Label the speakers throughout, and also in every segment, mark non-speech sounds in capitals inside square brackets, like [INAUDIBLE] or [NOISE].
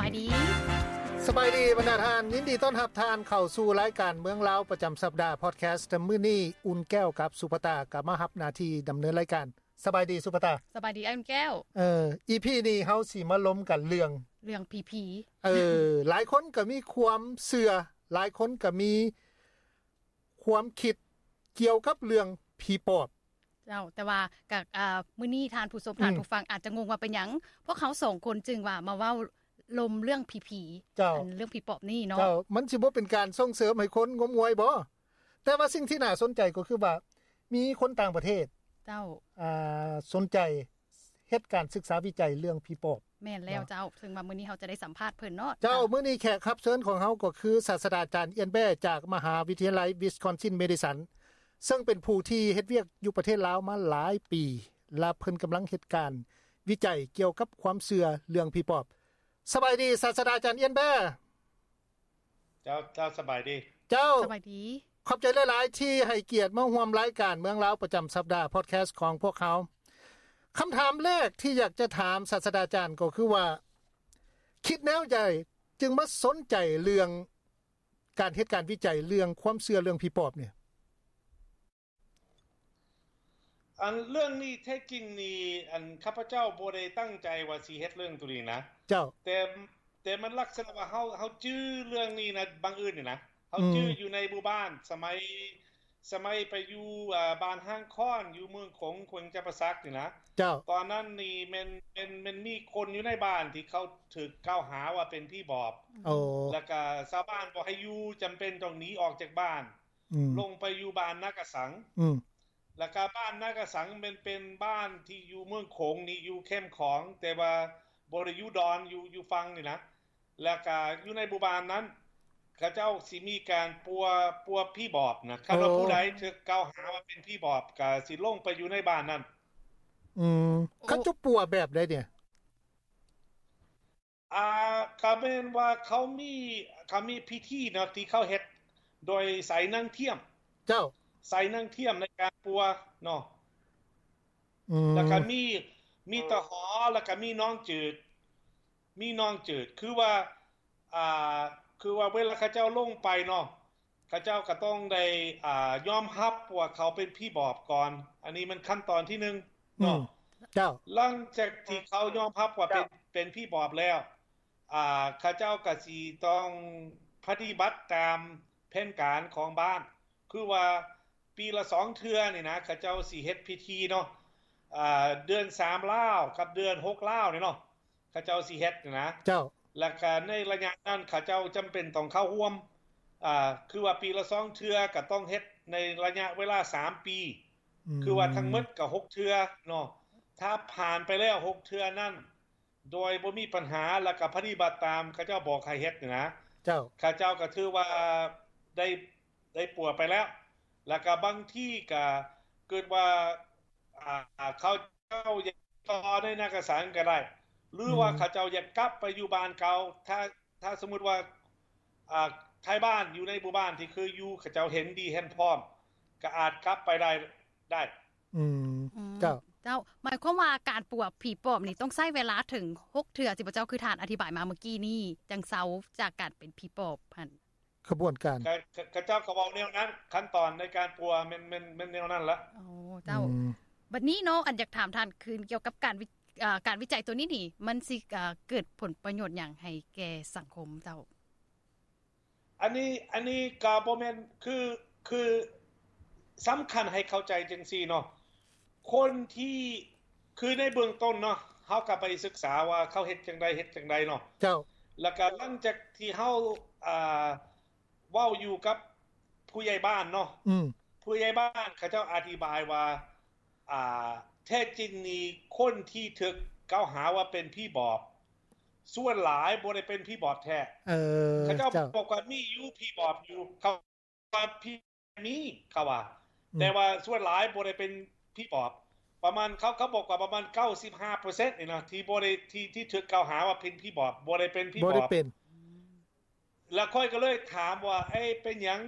Speaker 1: บายดี
Speaker 2: สบายดีบรรดาทานยินดีต้อนรับทานเข้าสู่รายการเมืองลาวประจำสัปดาห์พอดแคสต์มื้อนี้อุ่นแก้วกับสุภตากลับมารับหน้าที่ดำเนินรายการสบายดีสุภตา
Speaker 1: สบายดีไอ้ายอุ่นแก้ว
Speaker 2: เอ่อ EP นี้เฮาสิมาล้มกันเรื่อง
Speaker 1: เรื่องผี
Speaker 2: เออ [LAUGHS] หลายคนก็มีความเสื่อหลายคนก็มี ความคิดเกี่ยวกับเรื่องผีปอบ
Speaker 1: ๆ เจ้า แต่ว่ากับอ่ามื้อนี้ทานผู้ชมทานผู้ฟังอาจจะงงว่าเป็นหยังพวกเขาสองคนจึงว่ามาเว้าลมเรื่องผีๆ
Speaker 2: เจ้า
Speaker 1: อันเรื่องผีปอบนี่เนาะ
Speaker 2: เจ้ามันสิบ่เป็นการส่งเสริมให้คนงมงวยบ่แต่ว่าสิ่งที่น่าสนใจก็คือว่า มีคนต่างประเทศ
Speaker 1: เจ้า
Speaker 2: อ่าสนใจเฮ็ดการศึกษาวิจัยเรื่องผีปอบ
Speaker 1: แม่นแล้ว
Speaker 2: เนาะ
Speaker 1: เจ้า ซึ่งว่ามื้อนี้เขาจะได้สัมภาษณ์เพิ่นเนาะ
Speaker 2: เจ้ามื้อนี้แขกรับเชิญของเฮาก็คือศาสตราจารย์เอียนแบ้จากมหาวิทยาลัยวิสคอนซินเมดิสัน ซึ่งเป็นผู้ที่เฮ็ดเวียกอยู่ประเทศลาวมาหลายปี และเพิ่นกำลังเฮ็ดการวิจัยเกี่ยวกับความเชื่อเรื่องผีปอบ สบายดีศาสตราจารย์เอียนแบ้
Speaker 3: เจ้าเจ้าสบายดี
Speaker 2: เจ้า
Speaker 1: สบายดี
Speaker 2: ขอบใจหลาย ๆ ที่ให้เกียรติมาร่วมรายการเมืองลาวประจำสัปดาห์พอดแคสต์ของพวกเขาคำถามแรกที่อยากจะถามศาสตราจารย์ก็คือว่า คิดแนวใหญ่จึงมาสนใจเรื่องการเฮ็ดการวิจัยเรื่องความเชื่อเรื่องผีปอบเนี่ย
Speaker 3: อันเรื่องนี้แท้จริงนี่อันข้าพเจ้าบ่ได้ตั้งใจว่าสิเฮ็ดเรื่องตัวนี้นะ
Speaker 2: เจ้า
Speaker 3: แต่แต่มันลักษณะว่าเฮาเฮาจื้อเรื่องนี้นะบางอื่นนี่นะเฮา
Speaker 2: อืม
Speaker 3: จื้ออยู่ในหมู่บ้าน สมัยสมัยไปอยู่อ่าบ้านห้างค้อนอยู่เมืองของคงจะประซักนี่นะ
Speaker 2: เจ้า
Speaker 3: ตอนนั้นนี่มันมันมันมีคนอยู่ในบ้านที่เขาถูกกล่าวหาว่าเป็นพี่บอบ
Speaker 2: โอ้
Speaker 3: แล้วก็ชาวบ้านบ่ให้อยู่จำเป็นต้องหนีออกจากบ้าน
Speaker 2: อืม
Speaker 3: ลงไปอยู่บ้านนักกสัง
Speaker 2: อืม
Speaker 3: แล้วก็บ้านนากะสังเป็นเป็นบ้านที่อยู่เมืองโขงนี่อยู่เข้มของ แต่ว่าบริยุดอนอยู่อยู่ฟังนี่นะแล้วก็อยู่ในบุบานนั้นเขาเจ้าสิมีการปัวปัวพี่บอบนะคันว่าผู้ใดถูกกล่าวหาว่าเป็นพี่บอบก็สิลงไปอยู่ในบ้านนั้น
Speaker 2: อืม
Speaker 1: โอ้
Speaker 2: เขาจะปัวแบบใดเนี่ย
Speaker 3: อ่าก็แม่นว่าเขามีเขามีพิธีเนาะที่เขาเฮ็ดโดยใส่นางเทียม
Speaker 2: เจ้า
Speaker 3: ใส่นางเทียมในการปัวเนาะ
Speaker 2: อืม
Speaker 3: แล้วก็มีมีตะหอแล้วก็มีน้องจืด มีน้องจืดคือว่าอ่าคือว่าเวลาเขาเจ้าลงไปเนาะเขาเจ้าก็ต้องได้อ่ายอมรับว่าเขาเป็นพี่บอบก่อน อันนี้มันขั้นตอนที่หนึ่ง
Speaker 2: อื
Speaker 3: เนาะ
Speaker 2: มเจ้า
Speaker 3: หลังจากที่เขายอมรับว่าเป็นเป็นพี่บอบแล้วอ่าเขาเจ้าก็สิต้องปฏิบัติตามแผนการของบ้าน คือว่าปีละสองเทื่อนี่นะเขาเจ้าสิเฮ็ดพิธีเนาะอ่าเดือนสามล่าวกับเดือนหกล่าวนี่เนาะเขาเจ้าสิเฮ็ดนี่นะ
Speaker 2: เจ้า
Speaker 3: แล้วก็ในระยะนั้นเขาเจ้าจำเป็นต้องเข้าร่วมอ่าคือว่าปีละสองเทื่อก็ต้องเฮ็ดในระยะเวลาสามปี คือว่าทั้งหมดก็หกเทื่อเนาะถ้าผ่านไปแล้วหกเทื่อนั่นโดยบ่มีปัญหาแล้วก็ปฏิบัติตามเขาเจ้าบอกให้เฮ็ดนี่นะ
Speaker 2: เจ้า
Speaker 3: ข้าเจ้าก็ถือว่าได้ได้ปัวไปแล้ว แล้วก็บางที่ก็เกิดว่าอ่าเขาเจ้าอยากต่อในนากสารก็ได้ หรือว่า
Speaker 2: อืม
Speaker 3: เขาเจ้าอยากกลับไปอยู่บ้านเก่าถ้าถ้าสมมุติว่าอ่าท้ายบ้านอยู่ในหมู่บ้านที่คืออยู่เขาเจ้าเห็นดีเห็นพร้อมก็อาจกลับไปได้ได้
Speaker 2: อืม
Speaker 1: อืม
Speaker 2: เจ้า
Speaker 1: เจ้าหมายความว่าการปวดผีปอบนี่ต้องใช้เวลาถึงหกเทื่อสิบ่เจ้าคือทานอธิบายมาเมื่อกี้นี่จังเซาจากการเป็นผีปอบพัน
Speaker 2: ขบวนการ
Speaker 3: ก็ก็ก็เจ้าก็บอกแนวนั้น ขั้นตอนในการปัวมันมันมันแนวนั้นละ
Speaker 1: โอ้เจ้า บัดนี้เนาะอันอยากถามท่านคืนเกี่ยวกับการวิอ่าการวิจัยตัวนี้นี่ มันสิอ่าเกิดผลประโยชน์อย่างให้แก่สังคมเจ้า
Speaker 3: อันนี้อันนี้ก็บ่แม่นคือคือสำคัญให้เข้าใจจังซี่เนาะคนที่คือในเบื้องต้นเนาะเฮาก็ไปศึกษาว่าเขาเฮ็ดจังใดเฮ็ดจังใดเนาะ
Speaker 2: เจ้า
Speaker 3: แล้วก็หลังจากที่เฮาอ่าเว้าอยู่กับผู้ใหญ่บ้านเนาะ
Speaker 2: อืม
Speaker 3: ผู้ใหญ่บ้านเขาเจ้าอธิบายว่าอ่าแท้จริงนี่คนที่ถึกกล่าวหาว่าเป็นพี่บอบส่วนหลายบ่ได้เป็นพี่บอบแท้
Speaker 2: เออ
Speaker 3: เขาเจ้า
Speaker 2: เจ้า
Speaker 3: บอกว่ามีอยู่พี่บอบอยู่เขาว่าพี่มีเขาว่า
Speaker 2: อืม
Speaker 3: แต่ว่าส่วนหลายบ่ได้เป็นพี่บอบ ประมาณเขาเขาบอกว่าประมาณ 95%นี่นะที่บ่ได้ที่ที่ถูกกล่าวหาว่าเป็นพี่บอบบ่ได้เป็นพี่
Speaker 2: บ่
Speaker 3: บ
Speaker 2: ได้
Speaker 3: อบ
Speaker 2: เป็น
Speaker 3: แล้วค่อยก็เลยถามว่าเอ้ยเป็นหยัง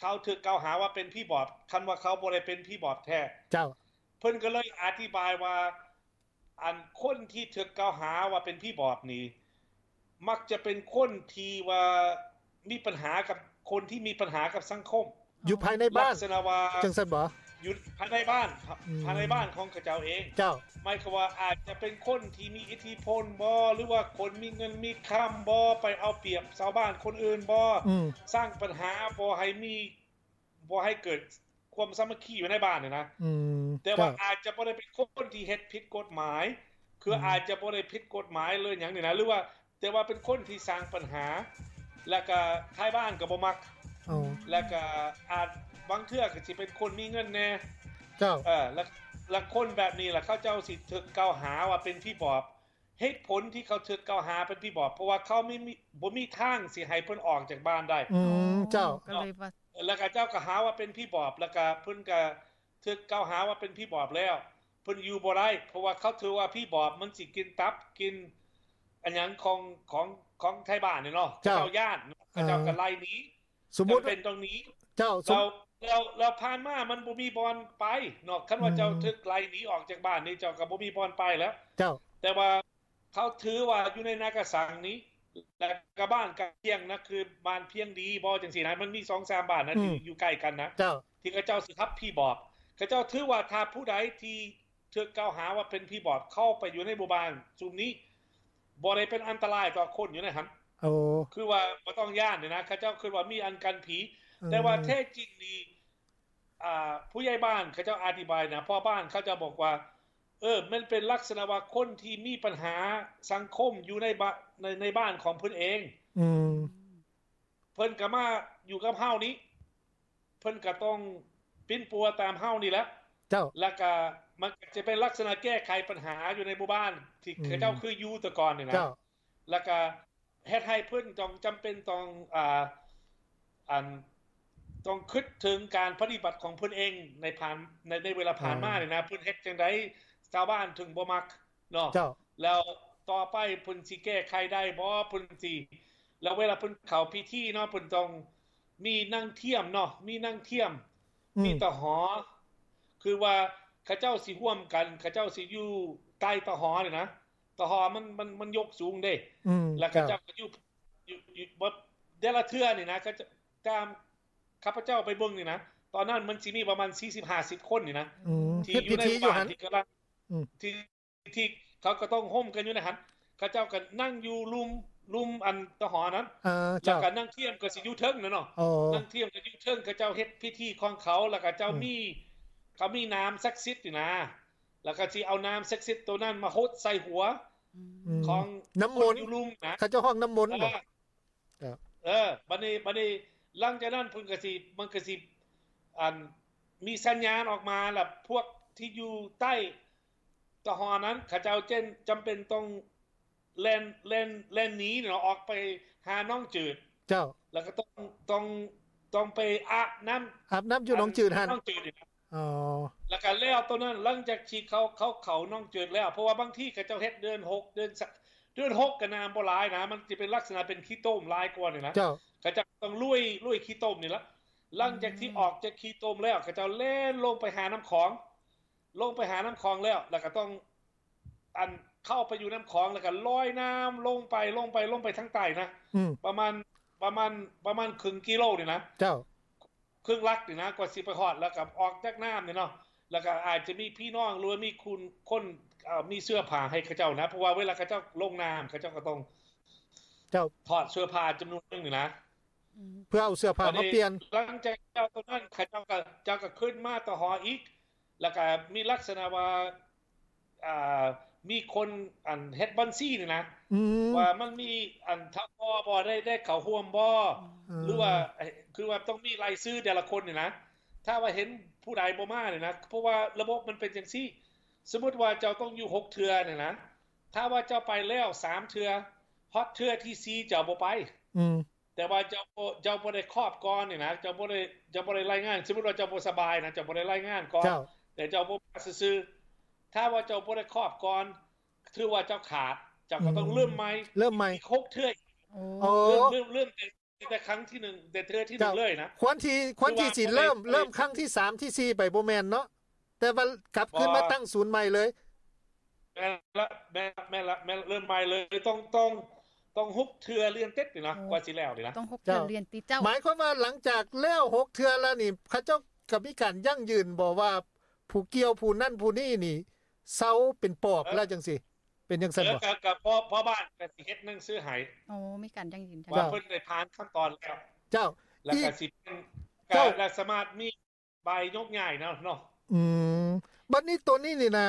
Speaker 3: เขาถูกกล่าวหาว่าเป็นพี่บอบคันว่าเขาบ่ได้เป็นพี่บอบแท้
Speaker 2: เจ้า
Speaker 3: เพิ่นก็เลยอธิบายว่า อันคนที่ถูกกล่าวหาว่าเป็นพี่บอบนี่ มักจะเป็นคนที่ว่ามีปัญหากับคนที่มีปัญหากับสังคม
Speaker 2: อยู่ภายในบ้าน
Speaker 3: ลักษณะว่า
Speaker 2: จังซั่นบ่
Speaker 3: อยู่ภายในบ้านครับ
Speaker 2: อืม
Speaker 3: ภายในบ้านของเขาเจ้าเอง
Speaker 2: เจ้า
Speaker 3: หมายความว่าอาจจะเป็นคนที่มีอิทธิพลบอหรือว่าคนมีเงินมีคำบอไปเอาเปรียบชาวบ้านคนอื่นบอ
Speaker 2: อืม
Speaker 3: สร้างปัญหาบอให้มีบอให้เกิดความสามัคคีอยู่ในบ้านเนี่ยนะ
Speaker 2: อืม
Speaker 3: แต่ว่า
Speaker 2: เจ้า
Speaker 3: อาจจะบ่ได้เป็นคนที่เฮ็ดผิดกฎหมาย คือ
Speaker 2: ม
Speaker 3: อาจจะบ่ได้ผิดกฎหมายเลยอย่างนี้นะหรือว่าแต่ว่าเป็นคนที่สร้างปัญหา แล้วก็ท้ายบ้านก็บ่มัก
Speaker 2: เอา
Speaker 3: แล้วก็อาจบางเทื่อก็สิเป็นคนมีเงินแน่
Speaker 2: เจ้า
Speaker 3: เออแล้วแล้วคนแบบนี้ล่ะเขาเจ้าสิถึกเกล่าวหาว่าเป็นพี่บอบเหตุผลที่เขาถึกเกล่าวหาเป็นพี่บอบเพราะว่าเขาไม่มีบ่มีทางสิให้เพิ่นออกจากบ้านได้
Speaker 2: อืมเจ้า
Speaker 1: ก็เลยว่า
Speaker 3: แล้วก็เจ้าก็หาว่าเป็นพี่บอบแล้วก็เพิ่นก็ถึกเกล่าวหาว่าเป็นพี่บอบแล้วเพิ่นอยู่บ่ได้เพราะว่าเขาถือว่าพี่บอบมันสิกินตับกิน อันหยังของของของไทยบ้านเนี่ยเนาะ
Speaker 2: เจ้า
Speaker 3: เจ้าญาติเขาเจ้าก็ไล่หนี้
Speaker 2: สมมุติ
Speaker 3: จำเป็นตรงนี้
Speaker 2: เจ้าสม
Speaker 3: เราเราเราผ่านมามันบ่มีบอลไปเนาะคันว่า
Speaker 2: อืม
Speaker 3: เจ้าถึกไกลหนีออกจากบ้านนี่เจ้าก็บ่มีบอลไปแล้ว
Speaker 2: เจ้า
Speaker 3: แต่ว่าเขาถือว่าอยู่ในนากระสังนี้แล้วก็บ้านกันเพียงนะคือบ้านเพียงดีบ่จังซี่นะมันมี2 3บ้านนะที่
Speaker 2: อืม
Speaker 3: อยู่ใกล้กันนะ
Speaker 2: เจ้า
Speaker 3: ที่เขาเจ้าสิครับพี่บอบเขาเจ้าถือว่าถ้าผู้ใดที่ถูกกล่าวหาว่าเป็นพี่บอบเข้าไปอยู่ในหมู่บ้านซุมนี้บ่ได้เป็นอันตรายต่อคนอยู่นะครับ
Speaker 2: โอ้
Speaker 3: คือว่าบ่ต้องย่านเนี่ยนะเขาเจ้าคือว่ามีอันกันผี แต่ว่าแท้จริงนี่อ่าผู้ใหญ่บ้านเขาเจะอธิบายนะพ่อบ้านเขาจะบอกว่า เออ มันเป็นลักษณะว่าคนที่มีปัญหาสังคมอยู่ในบ้านในในบ้านของเพิ่นเอง
Speaker 2: อืม
Speaker 3: เพิ่นก็มาอยู่กับเฮานี้ เพิ่นก็ต้องปิ้นปัวตามเฮานี่แหละ
Speaker 2: เจ้า
Speaker 3: แล้วก็มันก็จะเป็นลักษณะแก้ไขปัญหาอยู่ในหมู่บ้านที่
Speaker 2: อืม
Speaker 3: เขาเจ้าคืออยู่แต่ก่อนนี่นะ
Speaker 2: เจ้า
Speaker 3: แล้วก็เฮ็ดให้เพิ่นต้องจำเป็นต้องอ่าอันต้องคิดถึงการปฏิบัติของเพิ่นเองในผ่านในในเวลาผ่านมา
Speaker 2: อ่า
Speaker 3: เนี่ยนะเพิ่นเฮ็ดจังไดชาวบ้านถึงบ่มักเนาะ
Speaker 2: เจ้า
Speaker 3: แล้วต่อไปเพิ่นสิแก้ไขได้บ่เพิ่นสิแล้วเวลาเพิ่นเข้าพิธีเนาะเพิ่นต้องมีนั่งเทียมเนาะมีนั่งเทียม
Speaker 2: อื
Speaker 3: มี
Speaker 2: ม
Speaker 3: ตะหอ คือว่าเข้าเจ้าสิร่วมกันเข้าเจ้าสิอยู่ใต้ตะหอเนี่ยนะตะหอมันมันมันยกสูงเด้
Speaker 2: อืม
Speaker 3: แล้วข้าเจ้าก็อยู่อยู่อยู่บ่ได้ละเทื่อนี่นะก็จะตามข้าพเจ้าไปเบิ่งนี่นะตอนนั้นมันสิมีประมาณ40 50คนนี่นะ
Speaker 2: อืม
Speaker 3: ที่
Speaker 2: เฮ็ด
Speaker 3: อ
Speaker 2: พิ
Speaker 3: ยู่ใน
Speaker 2: ธี
Speaker 3: ห
Speaker 2: อยู่
Speaker 3: มู่บ้า
Speaker 2: หั
Speaker 3: น
Speaker 2: น
Speaker 3: ที่กำลัง
Speaker 2: อืม
Speaker 3: ที่ที่เขาก็ต้องห่มกันอยู่นะฮะข้าเจ้าก็นั่งอยู่ลุมลุมอันตะหอนั้น
Speaker 2: อ่า
Speaker 3: แล้ว
Speaker 2: เจ้า
Speaker 3: ก็นั่งเทียมก็สิอยู่เทิงนั่นเนาะ
Speaker 2: อ๋อ
Speaker 3: นั่งเทียมก็อยู่เทิงเขาเจ้าเฮ็ดพิธีของเขาแล้วก็เจ้า
Speaker 2: อืม
Speaker 3: มีเขามีน้ำศักดิ์สิทธิ์นี่นะแล้วก็สิเอาน้ำศักดิ์สิทธิ์ตัวนั้นมาโหดใส่หัว
Speaker 2: อืม
Speaker 3: ของ
Speaker 2: น้ำ
Speaker 3: ค
Speaker 2: ม
Speaker 3: น
Speaker 2: น
Speaker 3: อ
Speaker 2: ต์
Speaker 3: ยู่ลุมนะ
Speaker 2: เขาเจ้าห้องน้ำมนต์บ่
Speaker 3: อ่า
Speaker 2: ครับ
Speaker 3: เออบัดนี้บัดนี้หลังจากนั้นเพิ่นก็สิมันก็สิอันมีสัญญาณออกมาล่ะพวกที่อยู่ใต้ตะหอนั้นเขาเจ้าเจนจำเป็นต้องแล่นแล่นแล่นหนีเนาะออกไปหาน้องจืด
Speaker 2: เจ้า
Speaker 3: แล้วก็ต้องต้องต้องไปอาบน้ำ
Speaker 2: อาบน้ำอยู่หนองจืดหัน
Speaker 3: น้องจืดนี่นะ
Speaker 2: อ๋อ
Speaker 3: แล้วก็แล้วตัวนั้นหลังจากที่เขาเขาเขาน้องจืดแล้ว เพราะว่าบางที่เขาเจ้าเฮ็ดเดือนหกเดือนสะเดือนหกก็น้ำบ่หลายนะมันจะเป็นลักษณะเป็นขี้ต้มหลายกว่านี่นะ
Speaker 2: เจ้า
Speaker 3: เขาจะต้องลุยลุยขี้ต้มนี่ละหลังจากที่ออกจากขี้ต้มแล้วเขาจะเล่นลงไปหาน้ำของ ลงไปหาน้ำของแล้ว แล้วก็ต้องอันเข้าไปอยู่น้ำของแล้วก็ลอยน้ำลงไปลงไปลงไปทั้งใต้นะ
Speaker 2: อืม
Speaker 3: ประมาณประมาณประมาณครึ่งกิโลนี่นะ
Speaker 2: เจ้า
Speaker 3: ครึ่งลักนี่นะกว่าสิไปฮอดแล้วก็ออกจากน้ำนี่เนาะแล้วก็อาจจะมีพี่น้องหรือว่ามีคุณคนเอ่อมีเสื้อผ้าให้เขาเจ้านะเพราะว่าเวลาเขาเจ้าลงน้ำเขาเจ้าก็ต้อง
Speaker 2: เจ้า
Speaker 3: ถอดเสื้อผ้าจำนวนหนึงนี่นะ
Speaker 1: อืม
Speaker 2: เพื่อเอาเสื้อผ้ามาเปลี่ยน
Speaker 3: หลังจากเจ้าตัวนั้นเขาเจ้าก็เจ้าก็ขึ้นมาต่อหออีก แล้วก็มีลักษณะว่าอ่ามีคนอันเฮ็ดบัญชีนี่นะ
Speaker 2: อืม
Speaker 3: ว่ามันมีอันทับบอบ่ได้ได้เข้าห่วมบ่หรือว่าเอ่อคือว่าต้องมีรายชื่อแต่ละคนนี่นะ ถ้าว่าเห็นผู้ใดบ่มาเนี่ยนะ เพราะว่าระบบมันเป็นจังซี่ สมมุติว่าเจ้าต้องอยู่หกเทื่อเนี่ยนะ ถ้าว่าเจ้าไปแล้วสามเทื่อฮอตเทื่อที่สี่เจ้าบ่ไป
Speaker 2: อืม
Speaker 3: แต่ว่าเจ้าบ่เจ้าบ่ได้ครอบก่อนนี่นะเจ้าบ่ได้เจ้าบ่ได้รายงานสมมุติว่าเจ้าบ่สบายนะเจ้าบ่ได้รายงานก่อน
Speaker 2: เจ้า
Speaker 3: แต่เจ้าบ่มาซื่อๆถ้าว่าเจ้าบ่ได้ครอบก่อนถือว่าเจ้าขาดเจ้าก็ต้อง
Speaker 2: อืม
Speaker 3: เริ่มใหม่
Speaker 2: เริ่มใหม่
Speaker 3: อีกหกเทื่อ
Speaker 1: โอ้
Speaker 2: โอ้
Speaker 3: เริ่มเริ่มเริ่มแต่แต่ครั้งที่หนึ่งแต่เทื่อที่หนึ่ง
Speaker 2: เจ้า
Speaker 3: เลยนะ
Speaker 2: ควรที่ควรที่สิ
Speaker 3: คือว่า
Speaker 2: เริ่ม
Speaker 3: ไปไป
Speaker 2: เริ่มครั้งที่สามที่สี่ไปบ่แม่นเนาะ แต่ว่ากลับขึ้น
Speaker 3: บ่
Speaker 2: มาตั้งศูนย์ใหม่เลย
Speaker 3: แม่ละแม่ละแม่ละแม่ละเริ่มใหม่เลยต้องต้อง ต้องฮุบเทือเรียนเต็ดนี่นะ
Speaker 1: โอ้
Speaker 3: กว่าสิแล้วนี่นะ
Speaker 1: ต้องหกเดือนเรียนตีเจ้า
Speaker 2: หมายความว่าหลังจากแล้วหกเทือแล้วนี่เข้าเจ้ากับมีการยั่งยืนบอกว่าผู้เกี่ยวผู้นั่นผู้นี่นี่เซาเป็นปอบแล้วจังสิเป็นจังซั่น
Speaker 3: เออ
Speaker 2: บ่
Speaker 3: กับกับพ่อพ่อบ้านกสิเฮ็ดหนั่งซื้อหาย
Speaker 1: โอ้ไม่การยั่งยืนใช่ไหม
Speaker 3: ว่า
Speaker 2: จ้ะ
Speaker 3: เพิ่นได้ผ่านขั้นตอนแล้ว
Speaker 2: เจ้า
Speaker 3: แล้ว
Speaker 2: อีก
Speaker 3: กสิเป็น
Speaker 2: เจ้า
Speaker 3: ก็และสามารถมีใบยกง่ายเนาะเนาะ
Speaker 2: อืมบัดนี้ตัวนี้นี่นะ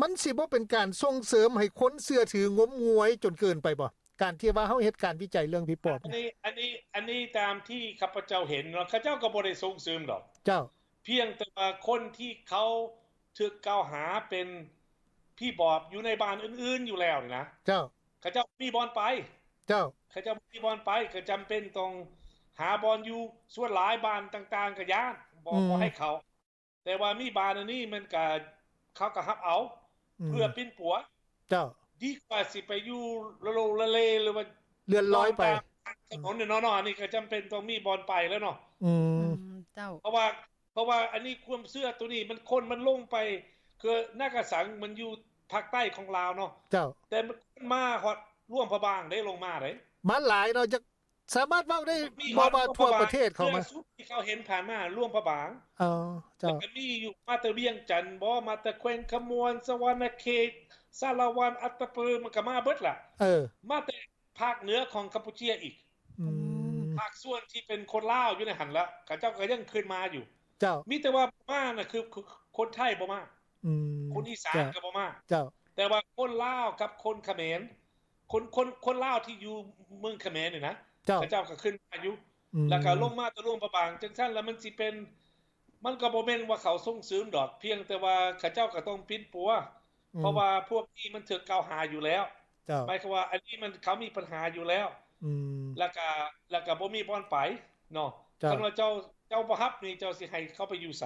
Speaker 2: มันสิบ่เป็นการส่งเสริมให้คนเชื่อถืองมงวยจนเกินไปบ่การที่ว่าเฮาเฮ็ดการวิจัยเรื่องผีปอบ
Speaker 3: อัน
Speaker 2: เนี่ย
Speaker 3: นี้อันนี้อันนี้ตามที่ข้าพเจ้าเห็นเนาะข้าเจ้าก็บ่ได้ส่งเสริมดอก
Speaker 2: เจ้า
Speaker 3: เพียงแต่ว่าคนที่เขาถูกกล่าวหาเป็นพี่บอบอยู่ในบ้านอื่นๆอยู่แล้วนี่นะ
Speaker 2: เจ้า
Speaker 3: ข้าเจ้ามีบอลไป
Speaker 2: เจ้า
Speaker 3: เขาจะมีบอลไปก็จำเป็นต้องหาบอลอยู่ส่วนหลายบานต่างๆก็ย่านบอก
Speaker 2: อืม
Speaker 3: บ่ให้เขา แต่ว่ามีบานอันนี้มันก็เขาก็ฮับเอา
Speaker 2: อืม
Speaker 3: เพื่อปิ้นปัว
Speaker 2: เจ้า
Speaker 3: ดีกว่าสิไปอยู่ละโลละเลหรือว่า
Speaker 2: เลื่อนลอยไป
Speaker 3: ตามถนนเนี่ยเนาะเนาะอันนี้ก็จำเป็นต้องมีบอลไปแล้วเนาะ
Speaker 2: อื
Speaker 1: อื
Speaker 2: ม
Speaker 1: มเจ้า
Speaker 3: เพราะว่าเพราะว่าอันนี้ความเสื้อตัวนี้มันคนมันลงไป คือหน้ากระสังมันอยู่ภาคใต้ของลาวเนาะ
Speaker 2: เจ้า
Speaker 3: แต่มันมาฮอดร่วมพระบางได้ลงมาได้
Speaker 2: มาหลายเราจะสามารถเว้าได้บ่ว่าทั่วประเทศเขามา
Speaker 3: ล่สุดที่เขาเห็นผ่านมาร่วมพระบาง
Speaker 2: อ๋อเจ้า
Speaker 3: แต่มีอยู่มาแตะเวียงจันทน์บ่มาแตะแขวงขมวนสะวรรณเขตสารวันอัตตปือมันก็มาเบิดล่ะ
Speaker 2: เออ
Speaker 3: มาแต่ภาคเหนือของกัมพูเชียอีก
Speaker 2: อืม
Speaker 3: ภาคส่วนที่เป็นคนลาวอยู่ในหันละเขาเจ้าก็ยังขึ้นมาอยู่
Speaker 2: เจ้า
Speaker 3: มีแต่ว่าบ่มาน่ะคือคือคนไทยบ่มา
Speaker 2: อืม
Speaker 3: คนอีสานก็บ่มา
Speaker 2: เจ้า
Speaker 3: แต่ว่าคนลาวกับคนเขมรคนคนคนลาวที่อยู่เมืองเขมรนี่นะ
Speaker 2: เจ้า
Speaker 3: เขาเจ้าก็ขึ้นมาอยู่
Speaker 2: อืม
Speaker 3: แล้วก็ลงมาตะลุมประบางจังซั่นแล้วมันสิเป็น มันก็บ่แม่นว่าเขาส่งเสริมดอกเพียงแต่ว่าเขาเจ้าก็ต้องปิ้นปัว เพราะว่าพวกนี้มันถูกกล่าวหาอยู่แล้ว
Speaker 2: เจ้า
Speaker 3: หมายความว่า อันนี้มันเขามีปัญหาอยู่แล้ว
Speaker 2: อืม
Speaker 3: แล้วก็แล้วก็บ่มีป้อนไปเนาะ
Speaker 2: จ้ะ
Speaker 3: คันว่าเจ้าเจ้าบ่ฮับนี่เจ้าสิให้เขาไปอยู่ไส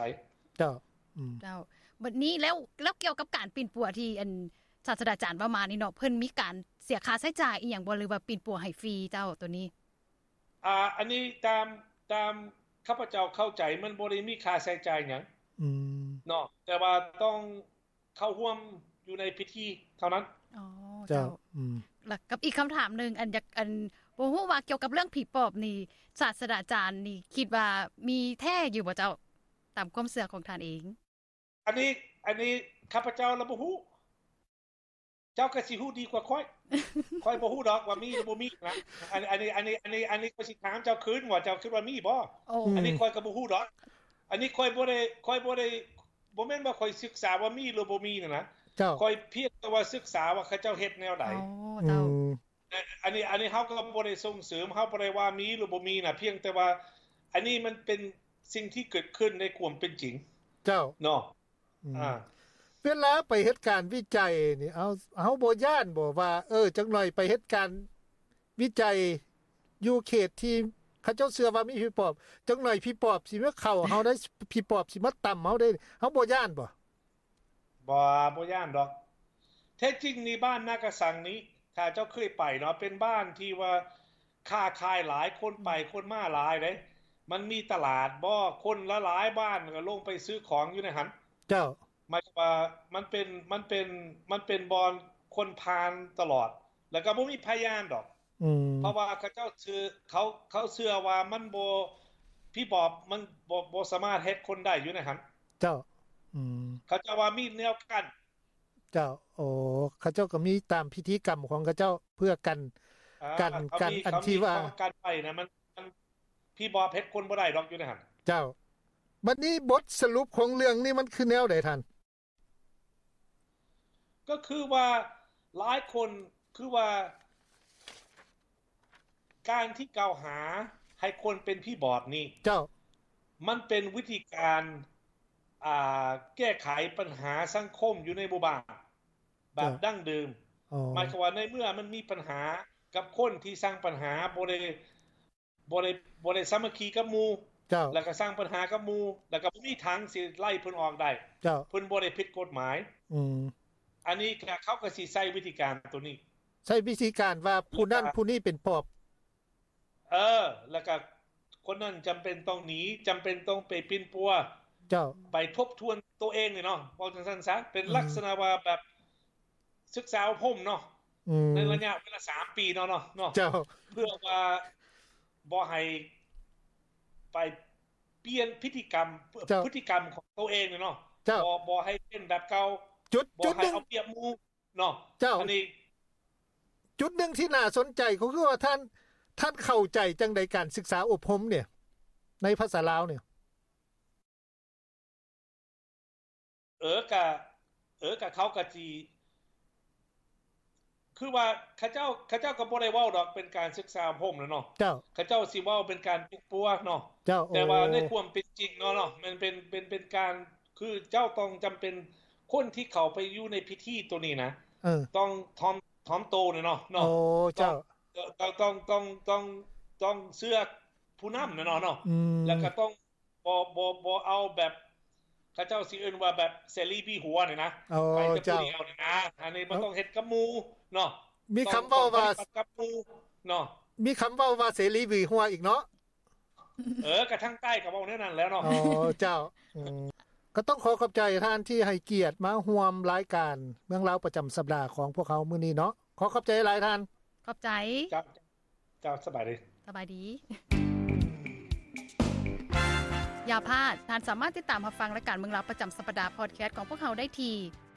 Speaker 2: เจ้า อืม
Speaker 1: เจ้าบัดนี้แล้วแล้วเกี่ยวกับการปีนปัวที่อันศาสตราจารย์ว่ามานี่เนาะเพิ่นมีการเสียค่าใช้จ่ายอีหยังบ่หรือว่าปีนปัวให้ฟรีเจ้าตัวนี้
Speaker 3: อ่า อันนี้ตามตามข้าพเจ้าเข้าใจมันบ่ได้มีค่าใช้จ่ายหยัง
Speaker 2: อืม
Speaker 3: เนาะแต่ว่าต้องเข้าร่วมอยู่ในพิธีเท่านั้น
Speaker 1: อ๋อ
Speaker 2: เจ้า
Speaker 1: เจ้า
Speaker 2: อืม
Speaker 1: แล้วกับอีกคำถามหนึ่งอันอยากอันบ่ฮู้ว่าเกี่ยวกับเรื่องผีปอบนี่ศาสตราจารย์นี่คิดว่ามีแท้อยู่บ่เจ้าตามความเชื่อของท่านเอง
Speaker 3: อันนี้อันนี้ข้าพเจ้าระบุหูเจ้ากสิหูดีกว่าค่อย ค่อยบ่หูดอกว่ามีหรือบ่มีนะอันอันนี้อันนี้อันนี้อันนี้ก็สิถามเจ้าคืนว่าเจ้าคิดว่ามีบ่
Speaker 1: โอ้
Speaker 3: อันนี้
Speaker 2: อืม
Speaker 3: ค่อยก็บ่หูดอก อันนี้ค่อยบ่ได้ค่อยบ่ได้บ่แม่นว่าค่อยศึกษาว่ามีหรือบ่มีนะนะ
Speaker 2: เจ้า
Speaker 3: ค่อยเพียงแต่ว่าศึกษาว่าเขาเจ้าเฮ็ดแนวใด
Speaker 1: โอ้
Speaker 2: อื
Speaker 1: เจ้าม
Speaker 3: แต่อันนี้อันนี้เฮาก็บ่ได้ส่งเสริมเฮาบ่ได้ว่ามีหรือบ่มีนะเพียงแต่ว่า อันนี้มันเป็นสิ่งที่เกิดขึ้นในความเป็นจริง
Speaker 2: เจ้า
Speaker 3: เนาะ
Speaker 2: อืม
Speaker 3: อ่า
Speaker 2: เวลาไปเฮ็ดการวิจัยนี่ เอาเอาบ่ย่านบ่ว่า เออ จักหน่อยไปเฮ็ดการวิจัยอยู่เขตที่เขาเจ้าเสือว่ามีผีปอบ จักหน่อยผีปอบสิมาเข้าเฮาได้ผีปอบสิมาต่ํเฮาได้เฮาบ่ย่านบ่
Speaker 3: บ่บ่ย่านดอกแท้จริงนี่บ้านนากระสังนี้ ถ้าเจ้าเคยไปเนาะเป็นบ้านที่ว่าค้าขายหลายคนไปคนมาหลายเด้มันมีตลาดบ่คนละหลายบ้านก็ลงไปซื้อของอยู่ในหัน
Speaker 2: เจ้า
Speaker 3: หมายความว่ามันเป็นมันเป็นมันเป็นบอนคนพานตลอด แล้วก็บ่มีพยานดอก
Speaker 2: อืม
Speaker 3: เพราะว่าเขาเจ้าเชื่อเขาเขาเชื่อว่ามันบ่พี่บอกมันบ่บ่สามารถเฮ็ดคนได้อยู่ในหัน
Speaker 2: เจ้า อืม
Speaker 3: เขาเจะว่ามีแนวกั้น
Speaker 2: เจ้า โอ้เขาเจ้าก็มีตามพิธีกรรมของเขาเจ้าเพื่อกัน
Speaker 3: อ่า
Speaker 2: กัน
Speaker 3: เขา
Speaker 2: กัน
Speaker 3: มี
Speaker 2: อัน
Speaker 3: เข
Speaker 2: ที่
Speaker 3: มี
Speaker 2: ว่า
Speaker 3: เขกันไปนะมันมันพี่บอเพชรคนบ่ได้ดอกอยู่นะฮะ
Speaker 2: เจ้า บัดนี้บทสรุปของเรื่องนี้มันคือแนวใดท่าน
Speaker 3: ก็คือว่าหลายคนคือว่า การที่กล่าวหาให้คนเป็นพี่บอดนี่
Speaker 2: เจ้า
Speaker 3: มันเป็นวิธีการอ่าแก้ไขปัญหาสังคมอยู่ในหมู่บ้านแบบดั้งเดิม
Speaker 2: อ๋อ
Speaker 3: หมายความว่าในเมื่อมันมีปัญหากับคนที่สร้างปัญหาบ่ได้บ่ได้บ่ได้สามัคคีกับหมู่
Speaker 2: เจ้า
Speaker 3: แล้วก็สร้างปัญหากับหมู่แล้วก็บ่มีทางสิไล่เพิ่นออกได้
Speaker 2: เจ้า
Speaker 3: เพิ่นบ่ได้ผิดกฎหมาย
Speaker 2: อืม
Speaker 3: อันนี้ก็เขาก็สิใช้วิธีการตัวนี้
Speaker 2: ใช้วิธีการว่าผู้นั่นผู้นี่เป็นปอบ
Speaker 3: เออ แล้วก็คนนั้นจำเป็นต้องหนีจำเป็นต้องไปปิ้นปัว
Speaker 2: เจ้า
Speaker 3: ไปทบทวนตัวเองเลยเนาะบอกจังซั่นซะเป็น
Speaker 2: อืม
Speaker 3: ลักษณะว่าแบบศึกษาเอาผมเนาะ
Speaker 2: อืม
Speaker 3: ในระยะเวลาสามปีเนาะเนาะเนาะ
Speaker 2: เจ้า
Speaker 3: เพื่อว่าบ่ให้ไปเปลี่ยนพฤติกรรม
Speaker 2: เจ้า
Speaker 3: พฤติกรรมของตัวเองเนาะ
Speaker 2: เจ้า
Speaker 3: บ่บ่ให้เป็นแบบเก่า
Speaker 2: จุด
Speaker 3: บ่
Speaker 2: จุดห
Speaker 3: ให้
Speaker 2: นึ่ง
Speaker 3: เอาเปรียบหมู่เนาะ
Speaker 2: เจ้า
Speaker 3: อันนี้
Speaker 2: จุดหนึ่งที่น่าสนใจก็คือว่าท่าน ท่านเข้าใจจังใดการศึกษาอบรมเนี่ย ในภาษาลาวเนี่ย
Speaker 3: เออกะเออกะเขากะจี คือว่าเข้าเจ้าเข้าเจ้าก็บ่ได้เว้าดอกเป็นการศึกษาผมนะเนาะ
Speaker 2: เจ้า
Speaker 3: เข้าเจ้าสิเว้าเป็นการปลุกปัวเนาะ
Speaker 2: เจ้าโอ้
Speaker 3: แต่ว่าในความเป็นจริงเนาะเนาะมันเป็นเป็นเป็นการคือเจ้าต้องจำเป็นคนที่เขาไปอยู่ในพิธีตัวนี้นะ
Speaker 2: เออ
Speaker 3: ต้องทอมทอมโตเนี่ยเนาะ
Speaker 2: โอ้
Speaker 3: เนาะ
Speaker 2: เจ้า
Speaker 3: ต้องต้องต้องต้องต้องเสื้อผู้นำนะเนาะเนาะ
Speaker 2: อืม
Speaker 3: แล้วก็ต้องบอบอบอเอาแบบเข้าเจ้าสิเอิ้นว่าแบบเสรีบีหัวเนี่ยนะ
Speaker 2: โอ้
Speaker 3: ไปแต่ผู้
Speaker 2: เจ้า
Speaker 3: เดียวเนี่ยนะอันนี้มันต้องเฮ็ดกับหมูเนาะ
Speaker 2: มีคำ
Speaker 3: ต้
Speaker 2: เว้า
Speaker 3: อง
Speaker 2: ว่า
Speaker 3: ปฏิบัติกับหมูเนาะ
Speaker 2: มีคำเว้าว่าเสรีวีหัวอีกเนาะ
Speaker 3: เออกระทั่งใต้ก็เว้าแน่นั่นแล้วเนาะ
Speaker 2: อ๋อเจ้าอืมก็ต้องขอขอบใจท่านที่ให้เกียรติมาห่วมรายการเมืองเล่าวประจำสัปดาห์ของพวกเขามื้อนี้เนาะขอขอบใจหลายท่าน
Speaker 1: ขอบใจ
Speaker 3: เจ้าเจ้าสบายดี
Speaker 1: สบายดี อย่าพลาด ท่านสามารถติดตามรับฟังรายการเมืองราวประจำสัปดาห์พอดแคสต์ของพวกเราได้ที่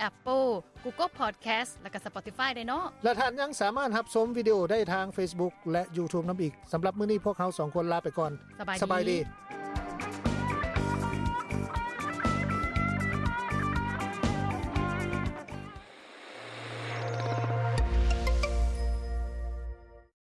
Speaker 1: Apple Google Podcast และก็ Spotify ได้เนาะ
Speaker 2: และท่านยังสามารถรับชมวิดีโอได้ทาง Facebook และ YouTube น้ำอีกสำหรับมื้อนี้พวกเขาสองคนลาไปก่อน
Speaker 1: สบายดี
Speaker 2: สบายดี